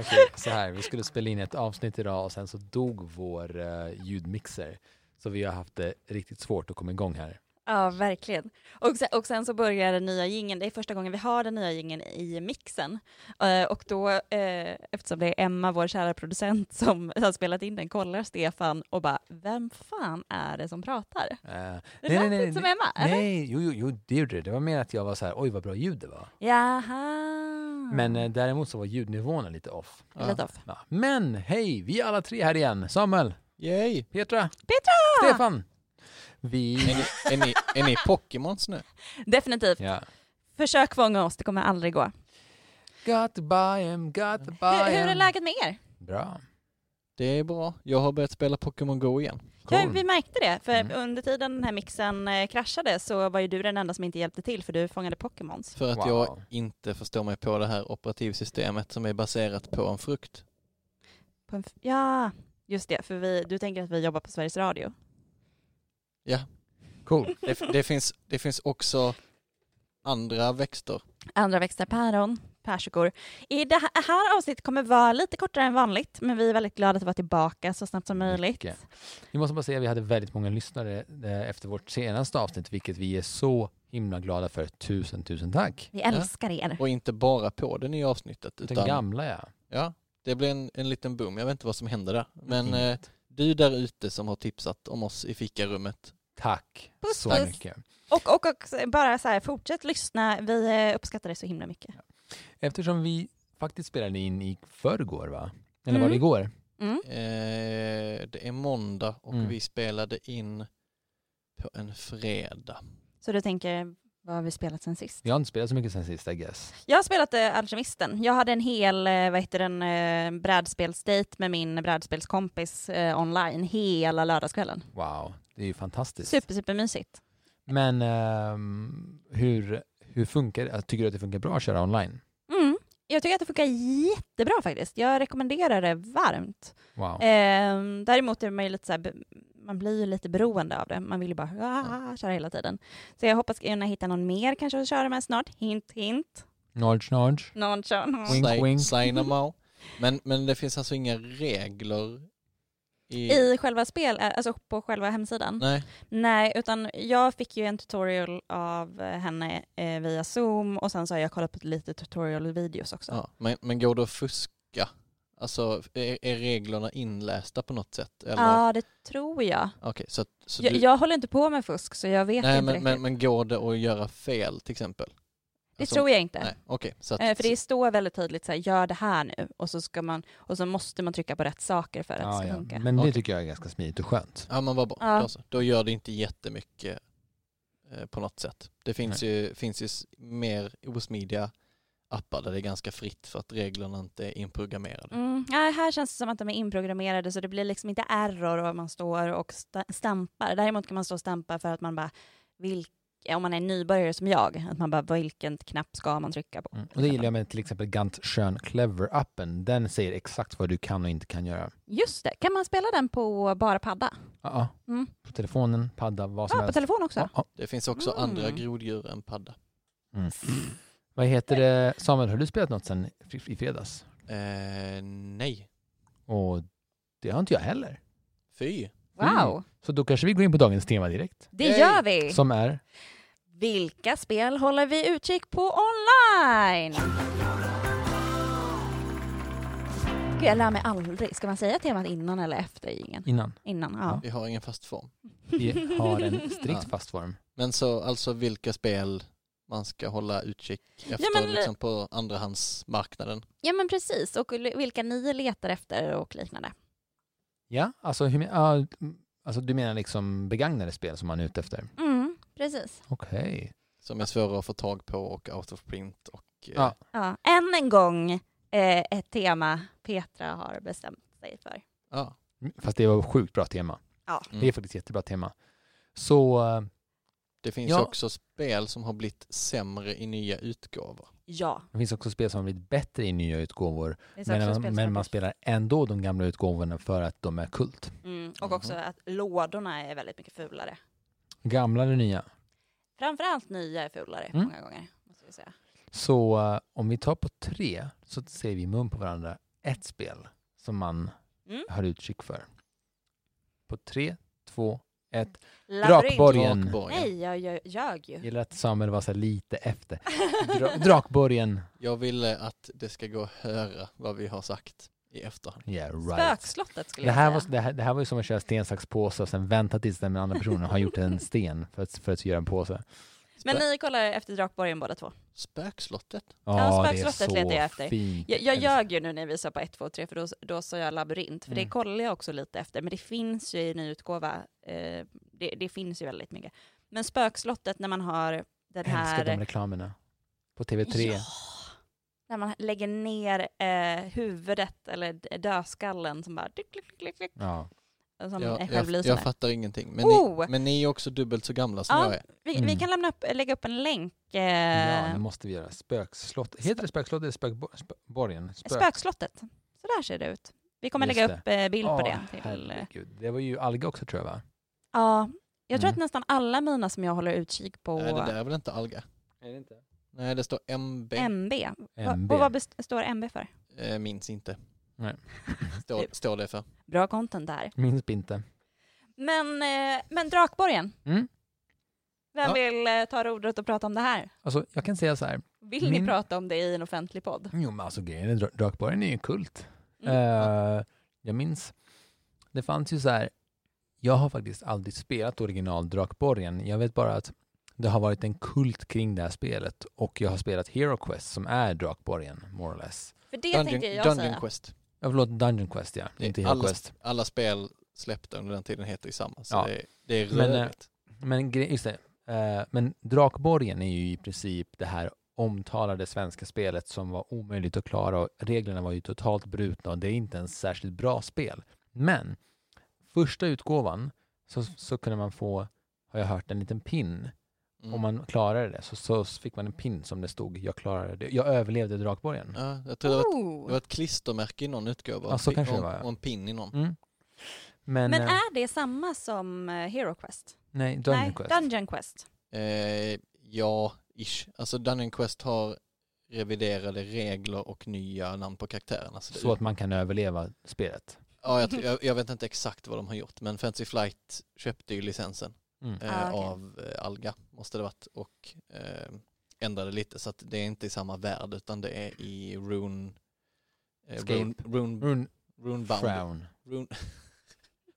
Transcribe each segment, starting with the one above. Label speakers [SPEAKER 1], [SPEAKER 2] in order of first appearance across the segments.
[SPEAKER 1] okej, så här, vi skulle spela in ett avsnitt idag och sen så dog vår eh, ljudmixer. Så vi har haft det riktigt svårt att komma igång här.
[SPEAKER 2] Ja, verkligen. Och sen, och sen så börjar den nya gingen. det är första gången vi har den nya gingen i mixen. Eh, och då, eh, eftersom det är Emma, vår kära producent, som har spelat in den, kollar Stefan och bara, vem fan är det som pratar?
[SPEAKER 1] Eh, nej,
[SPEAKER 2] Det lät inte som Emma, eller?
[SPEAKER 1] nej, jo, jo, jo, det gjorde det. Det var mer att jag var så här, oj vad bra ljud det var.
[SPEAKER 2] Jaha. Mm.
[SPEAKER 1] Men eh, däremot så var ljudnivåerna lite off.
[SPEAKER 2] Lite off.
[SPEAKER 1] Ja. Men hej, vi är alla tre här igen. Samuel,
[SPEAKER 3] Yay!
[SPEAKER 1] Petra,
[SPEAKER 2] Petra!
[SPEAKER 1] Stefan. Vi...
[SPEAKER 3] Är ni, är ni, är ni Pokémons nu?
[SPEAKER 2] Definitivt.
[SPEAKER 1] Ja.
[SPEAKER 2] Försök fånga oss, det kommer aldrig gå.
[SPEAKER 1] Got to buy em, got to buy
[SPEAKER 2] Hur, hur är
[SPEAKER 1] em.
[SPEAKER 2] läget med er?
[SPEAKER 1] Bra.
[SPEAKER 3] Det är bra. Jag har börjat spela Pokémon Go igen.
[SPEAKER 2] Ja, vi
[SPEAKER 1] Cool.
[SPEAKER 2] märkte det, för
[SPEAKER 1] Mm.
[SPEAKER 2] under tiden den här mixen eh, kraschade så var ju du den enda som inte hjälpte till, för du fångade Pokémons.
[SPEAKER 3] För att
[SPEAKER 1] Wow.
[SPEAKER 3] jag inte förstår mig på det här operativsystemet som är baserat på en frukt.
[SPEAKER 2] På en f- ja, just det, för vi, du tänker att vi jobbar på Sveriges Radio.
[SPEAKER 1] cool.
[SPEAKER 3] Det, det, finns, det finns också andra växter.
[SPEAKER 2] Andra växter, päron, persikor. I det här, här avsnittet kommer vara lite kortare än vanligt, men vi är väldigt glada att vara tillbaka så snabbt som möjligt.
[SPEAKER 1] Mycket. Vi måste bara säga att vi hade väldigt många lyssnare eh, efter vårt senaste avsnitt, vilket vi är så himla glada för. Tusen, tusen tack.
[SPEAKER 2] Vi älskar er.
[SPEAKER 3] Och inte bara på det nya avsnittet.
[SPEAKER 1] Den
[SPEAKER 3] Utan,
[SPEAKER 1] gamla ja.
[SPEAKER 3] ja, det blir en, en liten boom. Jag vet inte vad som händer där. Men
[SPEAKER 1] Fint.
[SPEAKER 3] eh, du där ute som har tipsat om oss i fikarummet.
[SPEAKER 1] Tack
[SPEAKER 2] Puss,
[SPEAKER 1] så
[SPEAKER 2] puss.
[SPEAKER 1] mycket.
[SPEAKER 2] Och, och, och bara så här, fortsätt lyssna. Vi eh, uppskattar det så himla mycket.
[SPEAKER 1] Eftersom vi faktiskt spelade in i förrgår va? Eller var det
[SPEAKER 2] Mm.
[SPEAKER 1] igår?
[SPEAKER 2] Mm.
[SPEAKER 3] Eh, det är måndag och
[SPEAKER 1] Mm.
[SPEAKER 3] vi spelade in på en fredag.
[SPEAKER 2] Så du tänker, vad har vi spelat sen sist?
[SPEAKER 1] Vi har inte spelat så mycket sen sist I guess.
[SPEAKER 2] Jag har spelat eh, Alkemisten. Jag hade en hel eh, vad heter den, eh, brädspelsdejt med min brädspelskompis eh, online hela lördagskvällen.
[SPEAKER 1] Wow, det är ju fantastiskt.
[SPEAKER 2] Super, supermysigt.
[SPEAKER 1] Men ehm, hur, hur funkar det? Tycker du att det funkar bra att köra online?
[SPEAKER 2] Mm. Jag tycker att det funkar jättebra faktiskt. Jag rekommenderar det varmt.
[SPEAKER 1] Wow.
[SPEAKER 2] Ehm, däremot är man ju lite så här, be- man blir ju lite beroende av det. Man vill ju bara "Ah", köra hela tiden. Så jag hoppas kunna hitta någon mer kanske att köra med snart. Hint, hint.
[SPEAKER 1] Nudge, nudge.
[SPEAKER 2] Någon kör någon.
[SPEAKER 1] Wink,
[SPEAKER 3] Sign-
[SPEAKER 1] wink.
[SPEAKER 3] Sign em out. Men, men det finns alltså inga regler i...
[SPEAKER 2] I själva spel, eh, alltså på själva hemsidan.
[SPEAKER 3] Nej,
[SPEAKER 2] Nej, utan jag fick ju en tutorial av eh, henne eh, via Zoom och sen så har jag kollat på lite tutorial-videos också.
[SPEAKER 3] ja. men, men går det att fuska? Alltså är, är reglerna inlästa på något sätt? Eller?
[SPEAKER 2] Ja, det tror jag.
[SPEAKER 3] Okej, så, att- så
[SPEAKER 2] jag.
[SPEAKER 3] du...
[SPEAKER 2] Jag håller inte på med fusk så jag vet
[SPEAKER 3] Nej,
[SPEAKER 2] inte
[SPEAKER 3] men,
[SPEAKER 2] riktigt.
[SPEAKER 3] men, alltså- men går det att göra fel till exempel?
[SPEAKER 2] det tror jag inte.
[SPEAKER 3] Nej, okej. så att...
[SPEAKER 2] Eh, För det står väldigt tydligt så här, gör det här nu och så, ska man, och så måste man trycka på rätt saker för att det
[SPEAKER 3] Ah,
[SPEAKER 1] Ja,
[SPEAKER 2] ska
[SPEAKER 1] ja.
[SPEAKER 2] funka.
[SPEAKER 1] Men det
[SPEAKER 3] Okej.
[SPEAKER 1] tycker jag är ganska smidigt och skönt.
[SPEAKER 3] Ja, men vad bra.
[SPEAKER 2] Ja.
[SPEAKER 3] Då, så. då gör det inte jättemycket eh, på något sätt. Det finns ju, finns ju s- mer osmidiga appar där det är ganska fritt för att reglerna inte är inprogrammerade.
[SPEAKER 2] Mm, nej, här känns det som att de är inprogrammerade så det blir liksom inte error om man står och sta- stampar. Däremot kan man stå och stampa för att man bara, vilk- om man är nybörjare som jag, att man bara vilken knapp ska man trycka på?
[SPEAKER 1] Mm. Och det gillar jag med till exempel Gant Schön Clever-appen. Den säger exakt vad du kan och inte kan göra.
[SPEAKER 2] Just det, kan man spela den på bara padda?
[SPEAKER 1] Ja, ja.
[SPEAKER 2] Mm.
[SPEAKER 1] På telefonen, padda, vad som
[SPEAKER 2] Ja, på
[SPEAKER 1] helst.
[SPEAKER 2] telefon också.
[SPEAKER 1] Ja,
[SPEAKER 3] Det finns också
[SPEAKER 2] Mm.
[SPEAKER 3] andra groddjur än padda.
[SPEAKER 1] ja. Mm. Vad heter det? Samuel, har du spelat något sen i i fredags?
[SPEAKER 3] Eh, nej,
[SPEAKER 1] Och det har inte jag heller.
[SPEAKER 3] fy.
[SPEAKER 2] Wow,
[SPEAKER 1] Så då kanske vi går in på dagens tema direkt.
[SPEAKER 2] det
[SPEAKER 3] Yay.
[SPEAKER 2] gör vi!
[SPEAKER 1] Som är?
[SPEAKER 2] Vilka spel håller vi utkik på online? Gud, jag lär mig aldrig. Ska man säga temat innan eller efter ingen?
[SPEAKER 1] Innan.
[SPEAKER 2] Innan, ja.
[SPEAKER 3] Vi har ingen fast form.
[SPEAKER 1] Vi har en strikt
[SPEAKER 3] Ja.
[SPEAKER 1] fast form.
[SPEAKER 3] Men så alltså vilka spel man ska hålla utkik efter
[SPEAKER 2] men- eh,
[SPEAKER 3] liksom på andrahandsmarknaden.
[SPEAKER 2] Ja men precis, och l- vilka ni letar efter och liknande.
[SPEAKER 1] Ja, alltså, hur, men- ja, alltså du menar liksom begagnade spel som man är ute efter?
[SPEAKER 2] Mm, precis.
[SPEAKER 1] Okej.
[SPEAKER 3] Som är svåra att få tag på och out of print och eh,
[SPEAKER 1] Ja.
[SPEAKER 2] Ja. Än en gång eh, ett tema Petra har bestämt sig för.
[SPEAKER 3] Ja.
[SPEAKER 1] Fast det var sjukt bra tema.
[SPEAKER 2] Ja.
[SPEAKER 3] Mm.
[SPEAKER 1] Det är faktiskt jättebra tema. Så eh,
[SPEAKER 3] Det finns
[SPEAKER 1] Ja.
[SPEAKER 3] ju också spel som har blivit sämre i nya utgåvor.
[SPEAKER 2] Ja.
[SPEAKER 1] det finns också spel som har blivit bättre i nya utgåvor,
[SPEAKER 2] Det finns också
[SPEAKER 1] men, man,
[SPEAKER 2] spel som
[SPEAKER 1] men
[SPEAKER 2] har
[SPEAKER 1] man
[SPEAKER 2] blivit-
[SPEAKER 1] spelar ändå de gamla utgåvorna för att de är kult.
[SPEAKER 2] Mm. Och också
[SPEAKER 3] Mhm.
[SPEAKER 2] att lådorna är väldigt mycket fulare.
[SPEAKER 1] Gamla eller nya.
[SPEAKER 2] Framförallt nya är fulare
[SPEAKER 1] Mm.
[SPEAKER 2] många gånger. Måste vi säga.
[SPEAKER 1] Så eh, om vi tar på tre så ser vi i mun på varandra ett spel som man
[SPEAKER 2] Mm.
[SPEAKER 1] har utkik för. På tre, två, ett.
[SPEAKER 2] Mm. Labyrint.
[SPEAKER 1] Drakborgen.
[SPEAKER 3] Drakborgen.
[SPEAKER 2] Nej, jag jag ljög ju.
[SPEAKER 1] Jag gillar att Samuel var så här lite efter. Dra- Drakborgen.
[SPEAKER 3] Jag ville att det ska gå att höra vad vi har sagt i efterhand.
[SPEAKER 1] Yeah, right.
[SPEAKER 2] Spökslottet skulle
[SPEAKER 1] Det här,
[SPEAKER 2] jag
[SPEAKER 1] var,
[SPEAKER 2] säga.
[SPEAKER 1] det, här, det här var ju som att köra sten, sax, påse och sen vänta tills den andra personen har gjort en sten för att, för att göra en påse.
[SPEAKER 2] Men ni kollar efter Drakborgen båda två.
[SPEAKER 3] Spökslottet?
[SPEAKER 2] Ja,
[SPEAKER 1] Ja, det är
[SPEAKER 2] spökslottet
[SPEAKER 1] så
[SPEAKER 2] letar jag efter.
[SPEAKER 1] fint.
[SPEAKER 2] Jag, jag ljög ju nu när vi sa på 1, 2, 3 för då, då sa jag labyrint. För
[SPEAKER 1] Mm.
[SPEAKER 2] det kollar jag också lite efter. Men det finns ju i ny utgåva. Eh, det, det finns ju väldigt mycket. Men spökslottet när man har den
[SPEAKER 1] Jag älskar de
[SPEAKER 2] här...
[SPEAKER 1] reklamerna. På TV3.
[SPEAKER 2] Ja. När man lägger ner eh, huvudet eller d- dödskallen som bara... Klick, klick, klick, klick,
[SPEAKER 1] Ja.
[SPEAKER 2] som är
[SPEAKER 3] jag, jag,
[SPEAKER 2] självlysande.
[SPEAKER 3] jag fattar ingenting. Men,
[SPEAKER 2] Oh!
[SPEAKER 3] ni, men ni är också dubbelt så gamla som
[SPEAKER 2] Ja.
[SPEAKER 3] jag är.
[SPEAKER 2] vi,
[SPEAKER 1] Mm.
[SPEAKER 2] vi kan lämna upp, lägga upp en länk. Eh,
[SPEAKER 1] ja, det måste vi göra. Spökslott. Heter det spökslott eller spökborgen? Spökborgen? Spök-
[SPEAKER 2] Spökslottet. Så där ser det ut. Vi kommer
[SPEAKER 1] Just
[SPEAKER 2] lägga
[SPEAKER 1] det.
[SPEAKER 2] upp eh, bild på
[SPEAKER 1] Ja,
[SPEAKER 2] det. Till, eh,
[SPEAKER 1] herregud. Det var ju alga också tror jag va?
[SPEAKER 2] ja, jag tror
[SPEAKER 1] Mm.
[SPEAKER 2] att nästan alla mina som jag håller utkik på
[SPEAKER 3] Nej, det där är väl inte alga?
[SPEAKER 1] Är det inte?
[SPEAKER 3] Nej, det står MB.
[SPEAKER 2] MB. Va-
[SPEAKER 1] MB.
[SPEAKER 2] Och vad best- står MB för?
[SPEAKER 3] Eh, minns inte.
[SPEAKER 1] Nej.
[SPEAKER 3] Står, står det för.
[SPEAKER 2] Bra content där.
[SPEAKER 1] Minns inte.
[SPEAKER 2] Men, eh, men Drakborgen,
[SPEAKER 1] Mm.
[SPEAKER 2] vem
[SPEAKER 3] Ja.
[SPEAKER 2] vill eh, ta rodret och prata om det här?
[SPEAKER 1] Alltså, jag kan säga så här.
[SPEAKER 2] Vill
[SPEAKER 1] Min-
[SPEAKER 2] ni prata om det i en offentlig podd?
[SPEAKER 1] Jo men alltså grejen är Dra- Drakborgen är ju en kult.
[SPEAKER 2] Mm.
[SPEAKER 1] Eh, jag minns, det fanns ju så här, jag har faktiskt aldrig spelat original Drakborgen. Jag vet bara att det har varit en kult kring det här spelet och jag har spelat Hero Quest som är Drakborgen, more or less.
[SPEAKER 2] För det
[SPEAKER 3] Dungeon,
[SPEAKER 2] tänker jag
[SPEAKER 3] Dungeon
[SPEAKER 2] säga.
[SPEAKER 3] Quest.
[SPEAKER 1] Ja, förlåt, Dungeon Quest ja,
[SPEAKER 3] Det är
[SPEAKER 1] inte Hero
[SPEAKER 3] alla-
[SPEAKER 1] Quest.
[SPEAKER 3] Alla spel släppta under den tiden heter ju samma. Så
[SPEAKER 1] Ja.
[SPEAKER 3] det, det är
[SPEAKER 1] Men, eh,
[SPEAKER 3] rörigt.
[SPEAKER 1] Men gre- just det. Eh, Men Drakborgen är ju i princip det här omtalade svenska spelet som var omöjligt att klara och reglerna var ju totalt brutna och det är inte ens särskilt bra spel. Men första utgåvan så, så kunde man få, har jag hört, en liten pin.
[SPEAKER 3] Mm.
[SPEAKER 1] Om man klarade det så, så fick man en pin som det stod, jag klarade det, jag överlevde Drakborgen.
[SPEAKER 3] ja, jag tror det var, ett, det var
[SPEAKER 2] Oh.
[SPEAKER 3] ett klistermärke i någon utgåva.
[SPEAKER 1] Ja, så
[SPEAKER 3] Och-
[SPEAKER 1] kanske det
[SPEAKER 3] och-
[SPEAKER 1] var, ja.
[SPEAKER 3] Och en pin i någon.
[SPEAKER 1] Mm. Men,
[SPEAKER 2] Men
[SPEAKER 1] eh,
[SPEAKER 2] är det samma som eh, Hero Quest?
[SPEAKER 1] nej, Dungeon
[SPEAKER 2] Nej,
[SPEAKER 1] Quest.
[SPEAKER 2] Dungeon Quest.
[SPEAKER 3] Eh, ja, ish. Alltså Dungeon Quest har reviderade regler och nya namn på karaktärerna. Så det-
[SPEAKER 1] Så att man kan överleva spelet.
[SPEAKER 3] ja, jag, tror- jag, jag vet inte exakt vad de har gjort, men Fancy Flight köpte ju licensen
[SPEAKER 1] Mm.
[SPEAKER 3] eh,
[SPEAKER 2] Ah, okej.
[SPEAKER 3] av eh, Alga, måste det varit, och eh, ändrade lite så att det är inte i samma värld utan det är i Rune... Eh,
[SPEAKER 1] Escape.
[SPEAKER 3] rune, rune,
[SPEAKER 1] Rune
[SPEAKER 3] runebound.
[SPEAKER 1] Frown, Ah.
[SPEAKER 3] Rune,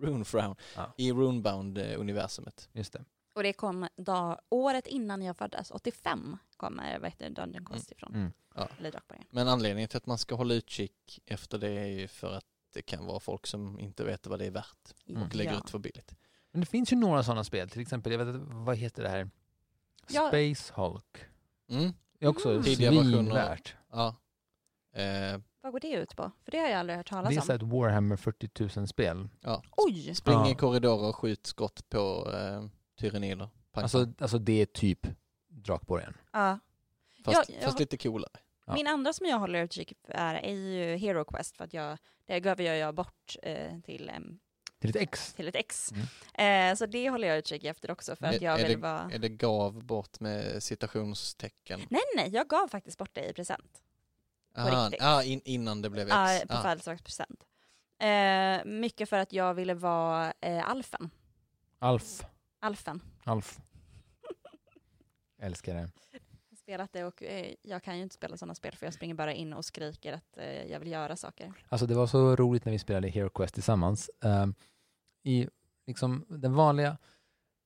[SPEAKER 3] rune Frown.
[SPEAKER 1] Ja.
[SPEAKER 3] I eh, Runebound-universumet.
[SPEAKER 1] just det.
[SPEAKER 2] Och det kom dag, året innan jag föddes, 85 kommer vad heter det, Dungeon Quest ifrån.
[SPEAKER 1] Mm.
[SPEAKER 3] Ja.
[SPEAKER 2] Eller Drakborgen.
[SPEAKER 3] Men anledningen till att man ska hålla utkik efter det är ju för att det kan vara folk som inte vet vad det är värt
[SPEAKER 1] Mm.
[SPEAKER 3] och lägger
[SPEAKER 2] Ja.
[SPEAKER 3] ut för billigt.
[SPEAKER 1] Men det finns ju några sådana spel, till exempel, jag vet inte, vad heter det här?
[SPEAKER 2] Ja.
[SPEAKER 1] Space Hulk.
[SPEAKER 3] Mm.
[SPEAKER 1] Det är också
[SPEAKER 2] Mm.
[SPEAKER 3] Tidiga versioner.
[SPEAKER 1] svinvärt.
[SPEAKER 3] Ja. Eh,
[SPEAKER 2] Vad går det ut på? För det har jag aldrig hört
[SPEAKER 1] Det är
[SPEAKER 2] talas
[SPEAKER 1] så
[SPEAKER 2] om.
[SPEAKER 1] ett Warhammer 40 000-spel.
[SPEAKER 3] ja.
[SPEAKER 2] Oj!
[SPEAKER 3] Spring
[SPEAKER 1] Ja.
[SPEAKER 3] i korridorer och skjut skott på eh, tyrannider. Pang,
[SPEAKER 1] Alltså,
[SPEAKER 3] pang.
[SPEAKER 1] alltså det är typ Drakborgen.
[SPEAKER 2] Ja.
[SPEAKER 3] fast,
[SPEAKER 2] jag- jag-
[SPEAKER 3] fast lite coolare.
[SPEAKER 1] Ja.
[SPEAKER 2] Min andra som jag håller utkik för är, är ju Hero Quest för att jag, det gav jag jag bort eh, till, em,
[SPEAKER 1] Till ett ex.
[SPEAKER 2] till ett ex.
[SPEAKER 1] Mm.
[SPEAKER 2] Eh, så det håller jag utkik efter också för
[SPEAKER 3] Men
[SPEAKER 2] att jag
[SPEAKER 3] är
[SPEAKER 2] vill
[SPEAKER 3] det-
[SPEAKER 2] vara...
[SPEAKER 3] Är det gav bort med citationstecken?
[SPEAKER 2] Nej, nej, jag gav faktiskt bort det i present.
[SPEAKER 3] Ah,
[SPEAKER 2] riktigt.
[SPEAKER 3] ah, in, innan det blev X.
[SPEAKER 2] Ja, på
[SPEAKER 3] Ah.
[SPEAKER 2] födelsedagspresent. Eh, mycket för att jag ville vara eh, alfen.
[SPEAKER 1] Alf.
[SPEAKER 2] Alfen.
[SPEAKER 1] Alf. Älskar det.
[SPEAKER 2] Jag har spelat det och eh, jag kan ju inte spela sådana spel för jag springer bara in och skriker att eh, jag vill göra saker.
[SPEAKER 1] Alltså det var så roligt när vi spelade Hero Quest tillsammans. Ehm, I liksom den vanliga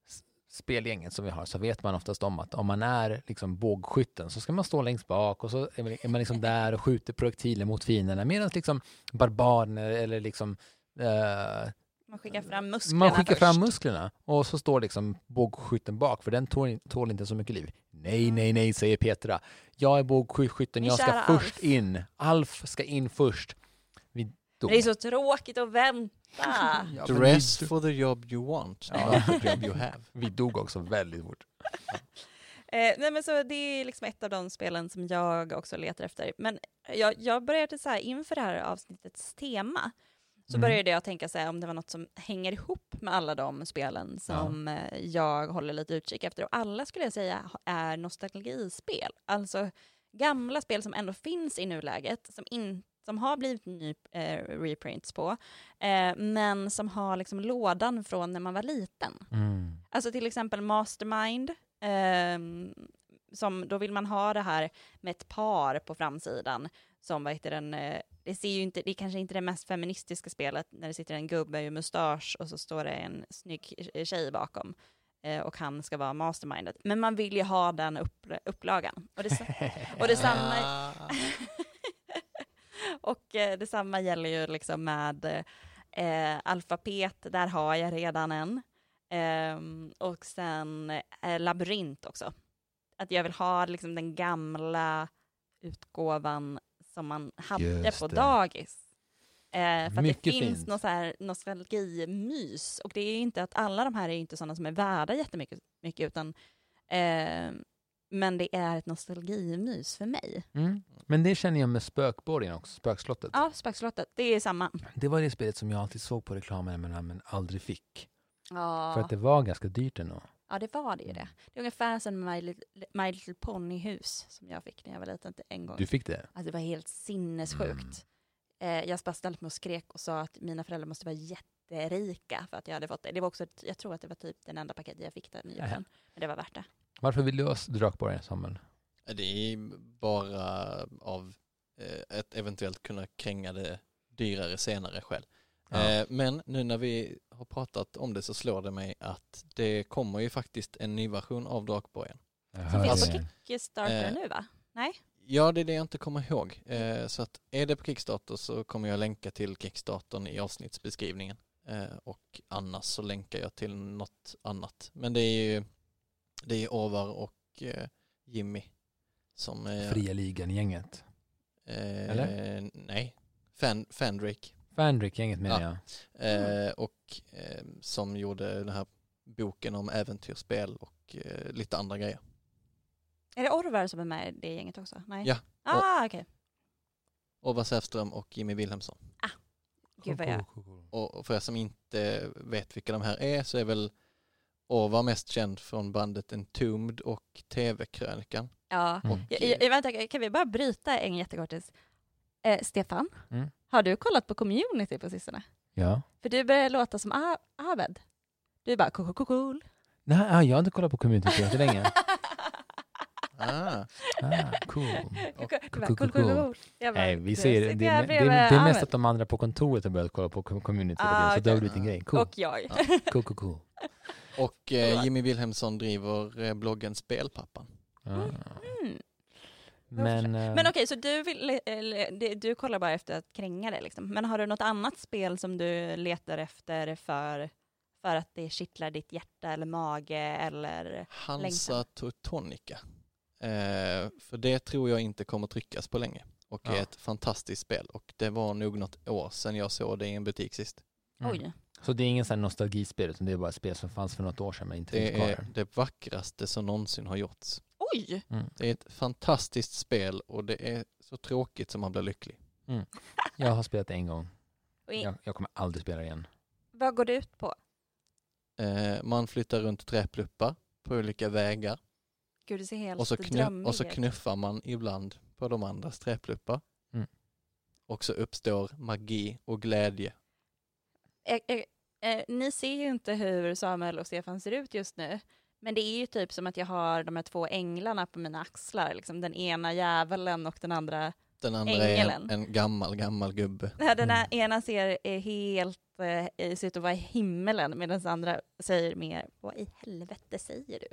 [SPEAKER 1] s- spelgänget som vi har så vet man oftast om att om man är liksom bågskytten så ska man stå längst bak och så är man- är man liksom där och skjuter projektiler mot fienderna medan liksom barbarerna eller liksom eh,
[SPEAKER 2] Man skickar fram musklerna
[SPEAKER 1] man skickar
[SPEAKER 2] först.
[SPEAKER 1] fram musklerna och så står liksom bågskytten bak för den tål, tål inte så mycket liv. Nej,
[SPEAKER 2] Mm.
[SPEAKER 1] nej, nej, säger Petra. Jag är bågskytten,
[SPEAKER 2] Min
[SPEAKER 1] jag ska
[SPEAKER 2] kära
[SPEAKER 1] först
[SPEAKER 2] Alf.
[SPEAKER 1] in. Alf ska in först. Vi dog.
[SPEAKER 2] Det är så tråkigt att vänta.
[SPEAKER 1] Ja, men vi
[SPEAKER 3] Dress
[SPEAKER 1] dog-
[SPEAKER 3] for the job you want,
[SPEAKER 1] Ja.
[SPEAKER 3] not the job you have.
[SPEAKER 1] Vi dog också väldigt fort.
[SPEAKER 2] Eh, nej men så det är liksom ett av de spelen som jag också letar efter. Men jag, jag började så här, inför det här avsnittets tema, så
[SPEAKER 1] Mm.
[SPEAKER 2] började jag tänka så här, om det var något som hänger ihop med alla de spelen som eh, jag håller lite utkik efter. Och alla skulle jag säga ha- är nostalgispel. Alltså gamla spel som ändå finns i nuläget, som, in, som har blivit ny, eh, reprints på, eh, men som har liksom lådan från när man var liten.
[SPEAKER 1] Mm.
[SPEAKER 2] Alltså till exempel Mastermind, ehm, som, då vill man ha det här med ett par på framsidan som, vad heter den, eh, det ser ju inte, det är kanske inte det mest feministiska spelet när det sitter en gubbe i mustasch och så står det en snygg tjej bakom eh, och han ska vara mastermindet. Men man vill ju ha den upp, upplagan. Och, det, och detsamma,
[SPEAKER 3] Ah.
[SPEAKER 2] och eh, detsamma gäller ju liksom med eh, alfabet, där har jag redan en. Ehm, och sen eh, labyrint också. Att jag vill ha liksom den gamla utgåvan som man hade
[SPEAKER 1] Just
[SPEAKER 2] på
[SPEAKER 1] det.
[SPEAKER 2] dagis. Eh, för att det
[SPEAKER 1] Mycket
[SPEAKER 2] finns
[SPEAKER 1] fint.
[SPEAKER 2] någon så här nostalgimys. Och det är ju inte att alla de här är ju inte sådana som är värda jättemycket, mycket, utan eh, men det är ett nostalgimys för mig.
[SPEAKER 1] Mm. Men det känner jag med spökborgen också, spökslottet.
[SPEAKER 2] Ja, Spökslottet, det är samma.
[SPEAKER 1] Det var det spelet som jag alltid såg på reklamen men, men aldrig fick.
[SPEAKER 2] Ja.
[SPEAKER 1] För att det Mm. var ganska dyrt ändå.
[SPEAKER 2] Ja, det var det ju det. Det är ungefär som My Little, My Little Pony-hus som jag fick när jag var liten en gång.
[SPEAKER 1] Du Mm. fick det?
[SPEAKER 2] Alltså det var helt sinnessjukt. Eh, jag bara ställde mig och skrek och sa att mina föräldrar måste vara jätterika för att jag hade fått det. Det var också, ett- jag tror att det var typ den enda paketet jag fick den julen. Men det var värt det.
[SPEAKER 1] Varför vill du ha drakborgen, Samuel?
[SPEAKER 3] Det är bara av eh, att eventuellt kunna kränga det dyrare senare själv. Eh, men nu när vi har pratat om det så slår det mig att det kommer ju faktiskt en ny version av Drakborgen.
[SPEAKER 1] Jag hör
[SPEAKER 2] finns
[SPEAKER 1] det.
[SPEAKER 2] på Kickstarter
[SPEAKER 3] Eh.
[SPEAKER 2] nu va? Nej?
[SPEAKER 3] Ja, det är det jag inte kommer ihåg. Eh, så att är det på Kickstarter så kommer jag länka till Kickstartern i avsnittsbeskrivningen. Eh, och annars så länkar jag till något annat. Men det är ju det är Ovar och eh, Jimmy som eh,
[SPEAKER 1] Fria ligan-gänget.
[SPEAKER 3] Eh,
[SPEAKER 1] Eller?
[SPEAKER 3] Nej, Fan, Fandrick.
[SPEAKER 1] Fandrick-gänget menar jag.
[SPEAKER 3] Eh, och eh, som gjorde den här boken om äventyrsspel och eh, lite andra grejer.
[SPEAKER 2] Är det Orvar som är med i det gänget också? Nej?
[SPEAKER 3] Ja.
[SPEAKER 2] Ah, okej.
[SPEAKER 3] Ova Säfström och Jimmy Wilhelmsson.
[SPEAKER 2] Gud vad jag...
[SPEAKER 1] cool, cool.
[SPEAKER 3] Och för er som inte vet vilka de här är så är väl Ova mest känd från bandet Entombed och TV-krönikan.
[SPEAKER 2] Ja.
[SPEAKER 1] Mm.
[SPEAKER 3] Och,
[SPEAKER 2] Jag, jag, vänta, kan vi bara bryta en jättekortis? Eh, Stefan,
[SPEAKER 1] Mm.
[SPEAKER 2] har du kollat på community på sistone?
[SPEAKER 1] Ja.
[SPEAKER 2] För du börjar låta som A- Aved. Du är bara cool, cool, cool.
[SPEAKER 1] Nej, ah, jag har inte kollat på community på jättelänge.
[SPEAKER 3] Ah,
[SPEAKER 1] Ah, cool.
[SPEAKER 2] Du bara,
[SPEAKER 1] cool,
[SPEAKER 2] cool, cool,
[SPEAKER 1] cool.
[SPEAKER 2] cool. Jag bara,
[SPEAKER 1] Nej, vi
[SPEAKER 2] du
[SPEAKER 1] ser, det,
[SPEAKER 2] sitter
[SPEAKER 1] det,
[SPEAKER 2] här
[SPEAKER 1] är- det,
[SPEAKER 2] bredvid
[SPEAKER 1] är- det är mest
[SPEAKER 2] Ahmed.
[SPEAKER 1] att de andra på kontoret har börjat kolla på com- community.
[SPEAKER 2] Ah,
[SPEAKER 1] och det, så det
[SPEAKER 2] okej.
[SPEAKER 1] har blivit en grej. Cool,
[SPEAKER 2] Och jag.
[SPEAKER 1] cool, cool. cool.
[SPEAKER 3] och eh, Jimmy Wilhelmsson driver eh, bloggen Spelpappan.
[SPEAKER 1] Ah.
[SPEAKER 2] Mm.
[SPEAKER 1] Men, eh,
[SPEAKER 2] Men okej, så du, vill, eller, det- du kollar bara efter att kränga det liksom. Men har du något annat spel som du letar efter för, för att det kittlar ditt hjärta eller mage eller...
[SPEAKER 3] Hansa
[SPEAKER 2] Längtan.
[SPEAKER 3] Teutonica. Eh, för det tror jag inte kommer tryckas på länge. Och
[SPEAKER 1] Ja.
[SPEAKER 3] är ett fantastiskt spel. Och det var nog något år sedan jag såg det i en butik sist.
[SPEAKER 1] mm.
[SPEAKER 2] Oj.
[SPEAKER 1] Så det är ingen sån här nostalgispel, utan det är bara ett spel som fanns för något år sedan men inte finns
[SPEAKER 3] Det
[SPEAKER 1] kvar.
[SPEAKER 3] är
[SPEAKER 1] där.
[SPEAKER 3] det vackraste som någonsin har gjorts.
[SPEAKER 2] Oj!
[SPEAKER 1] Mm.
[SPEAKER 3] Det är ett fantastiskt spel och det är så tråkigt som man blir lycklig.
[SPEAKER 1] Jag har spelat det en gång.
[SPEAKER 2] Och i-
[SPEAKER 1] Jag, jag kommer aldrig spela det igen.
[SPEAKER 2] Vad går det ut på?
[SPEAKER 3] Eh, man flyttar runt träpluppar på olika vägar
[SPEAKER 2] Gud, Alltså det ser helt
[SPEAKER 3] och så, knu-
[SPEAKER 2] drömmig
[SPEAKER 3] och så
[SPEAKER 2] ut.
[SPEAKER 3] knuffar man ibland på de andras träpluppar.
[SPEAKER 1] Mm.
[SPEAKER 3] Och så uppstår magi och glädje.
[SPEAKER 2] Eh, eh, eh, ni ser ju inte hur Samuel och Stefan ser ut just nu. Men det är ju typ som att jag har de här två änglarna på mina axlar. Liksom den ena djävulen och den andra.
[SPEAKER 3] Den andra
[SPEAKER 2] Ängelen.
[SPEAKER 3] är en, en gammal, gammal gubbe.
[SPEAKER 2] Den
[SPEAKER 1] Mm.
[SPEAKER 2] här ena ser eh, helt, eh, ser ut att vara i himmelen medan den andra säger mer, vad i helvete säger du?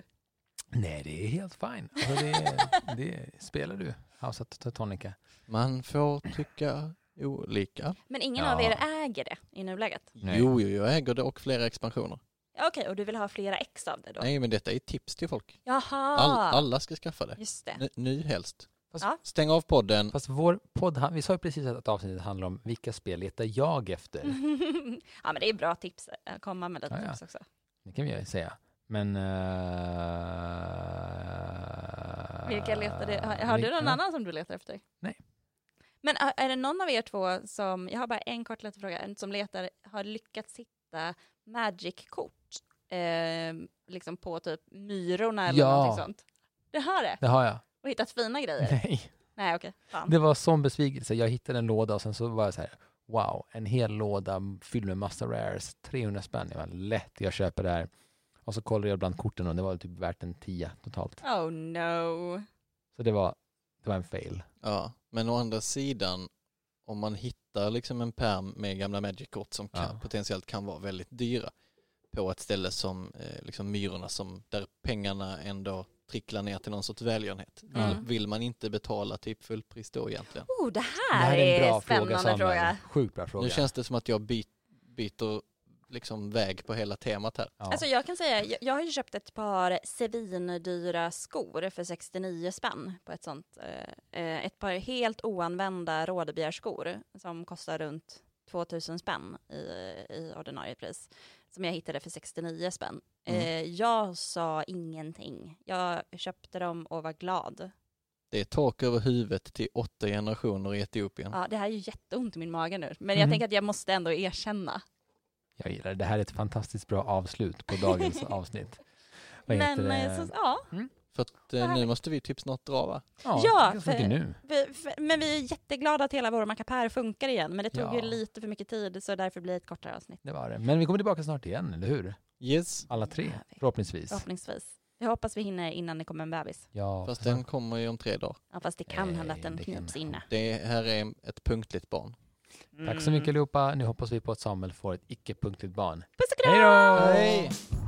[SPEAKER 1] Nej, det är helt fine. Alltså, det, är- det är- spelar du House of Teutonica?
[SPEAKER 3] Man får tycka olika.
[SPEAKER 2] Men ingen
[SPEAKER 1] Ja.
[SPEAKER 2] av er äger det i nuläget.
[SPEAKER 1] Nej.
[SPEAKER 3] Jo, jo, jag äger det och flera expansioner.
[SPEAKER 2] Ja, Okej, och du vill ha flera ex av det då? Ah.
[SPEAKER 3] Nej, men detta är tips till folk.
[SPEAKER 2] Jaha,
[SPEAKER 3] All, alla ska skaffa det.
[SPEAKER 2] just det.
[SPEAKER 3] N- ny helst.
[SPEAKER 1] Fast-
[SPEAKER 2] Ja.
[SPEAKER 3] Stäng av podden.
[SPEAKER 1] Fast vår podd, han- vi sa ju precis att avsnittet handlar om vilka spel letar jag efter?
[SPEAKER 2] Mm. ja, men det är bra tips att komma med lite
[SPEAKER 1] Ja, ja.
[SPEAKER 2] tips också.
[SPEAKER 1] Det kan vi ju säga. Men... eh,
[SPEAKER 2] Vilka letar du? Har, har du
[SPEAKER 1] vilka-
[SPEAKER 2] någon annan som du letar efter?
[SPEAKER 1] Nej.
[SPEAKER 2] Men ä- är det någon av er två som, jag har bara en kort liten fråga, en som letar, har lyckats hitta Magic-kort? Eh, liksom på typ Myrorna eller
[SPEAKER 1] Ja.
[SPEAKER 2] någonting sånt? Det har det?
[SPEAKER 1] Det har jag.
[SPEAKER 2] Och hittat fina grejer? Nej,
[SPEAKER 1] Nej.
[SPEAKER 2] okej. Fan.
[SPEAKER 1] Det var sån besvikelse. Jag hittade en låda och sen så var jag så här, wow, en hel låda fylld med massa rares, 300 spänn. Jag var lätt, jag köper det här. Och så kollade jag bland korten och det var typ värt en 10 totalt.
[SPEAKER 2] Oh no.
[SPEAKER 1] Så det var, det var en fail.
[SPEAKER 3] Ja, men å andra sidan, om man hittar liksom en pärm med gamla Magic-kort som kan,
[SPEAKER 1] Ja.
[SPEAKER 3] potentiellt kan vara väldigt dyra på ett ställe som eh, liksom Myrorna, som, där pengarna ändå tricklar ner till någon sorts välgörenhet.
[SPEAKER 2] Mm.
[SPEAKER 3] Vill- Vill man inte betala typ fullpris då egentligen?
[SPEAKER 2] Oh, det här,
[SPEAKER 1] Det här är en bra
[SPEAKER 2] spännande
[SPEAKER 1] fråga,
[SPEAKER 2] fråga.
[SPEAKER 1] Samuel. Sjukt bra fråga.
[SPEAKER 3] Nu känns det som att jag by- byter liksom väg på hela temat här.
[SPEAKER 1] ja.
[SPEAKER 2] Alltså jag kan säga, jag, jag har ju köpt ett par svindyra skor för 69 spänn på ett sånt. eh, Eh, ett par helt oanvända rådebjärsskor som kostar runt 2000 spänn i, i ordinarie pris. Som jag hittade för 69 spänn.
[SPEAKER 3] Mm.
[SPEAKER 2] Eh, jag sa ingenting. Jag köpte dem och var glad.
[SPEAKER 3] Det är tak över huvudet till åtta generationer i Etiopien.
[SPEAKER 2] Ja, det här är ju jätteont i min mage nu. Men jag
[SPEAKER 1] Mhm.
[SPEAKER 2] tänker att jag måste ändå erkänna.
[SPEAKER 1] Jag gillar det. Det här är ett fantastiskt bra avslut på dagens avsnitt. Vad heter
[SPEAKER 2] Men eh,
[SPEAKER 1] det?
[SPEAKER 2] så, ja.
[SPEAKER 3] För att eh, nu måste vi typ snart dra va?
[SPEAKER 2] Ja,
[SPEAKER 1] ganska mycket
[SPEAKER 2] för-
[SPEAKER 1] nu.
[SPEAKER 2] Vi, f- men vi är jätteglada att hela vår mackapär funkar igen, men det tog
[SPEAKER 1] Ja.
[SPEAKER 2] ju lite för mycket tid så därför blir det ett kortare avsnitt.
[SPEAKER 1] Det var det. Men vi kommer tillbaka snart igen, eller hur?
[SPEAKER 3] Yes.
[SPEAKER 1] Alla tre,
[SPEAKER 2] Ja, vi-
[SPEAKER 1] förhoppningsvis.
[SPEAKER 2] Förhoppningsvis. Jag hoppas vi hinner innan det kommer en bebis.
[SPEAKER 1] Ja,
[SPEAKER 3] Fast
[SPEAKER 1] för-
[SPEAKER 3] den kommer ju om tre dagar.
[SPEAKER 2] Ja, fast det kan
[SPEAKER 1] Eh,
[SPEAKER 2] hända att den
[SPEAKER 1] det kan
[SPEAKER 2] knips
[SPEAKER 1] hända.
[SPEAKER 2] inne.
[SPEAKER 3] Det här är ett punktligt barn.
[SPEAKER 1] Tack så mycket allihopa. Nu hoppas vi på att Samuel får ett icke-punktligt barn.
[SPEAKER 2] Puss och
[SPEAKER 1] Hej
[SPEAKER 2] kram!
[SPEAKER 1] då!
[SPEAKER 3] Hej!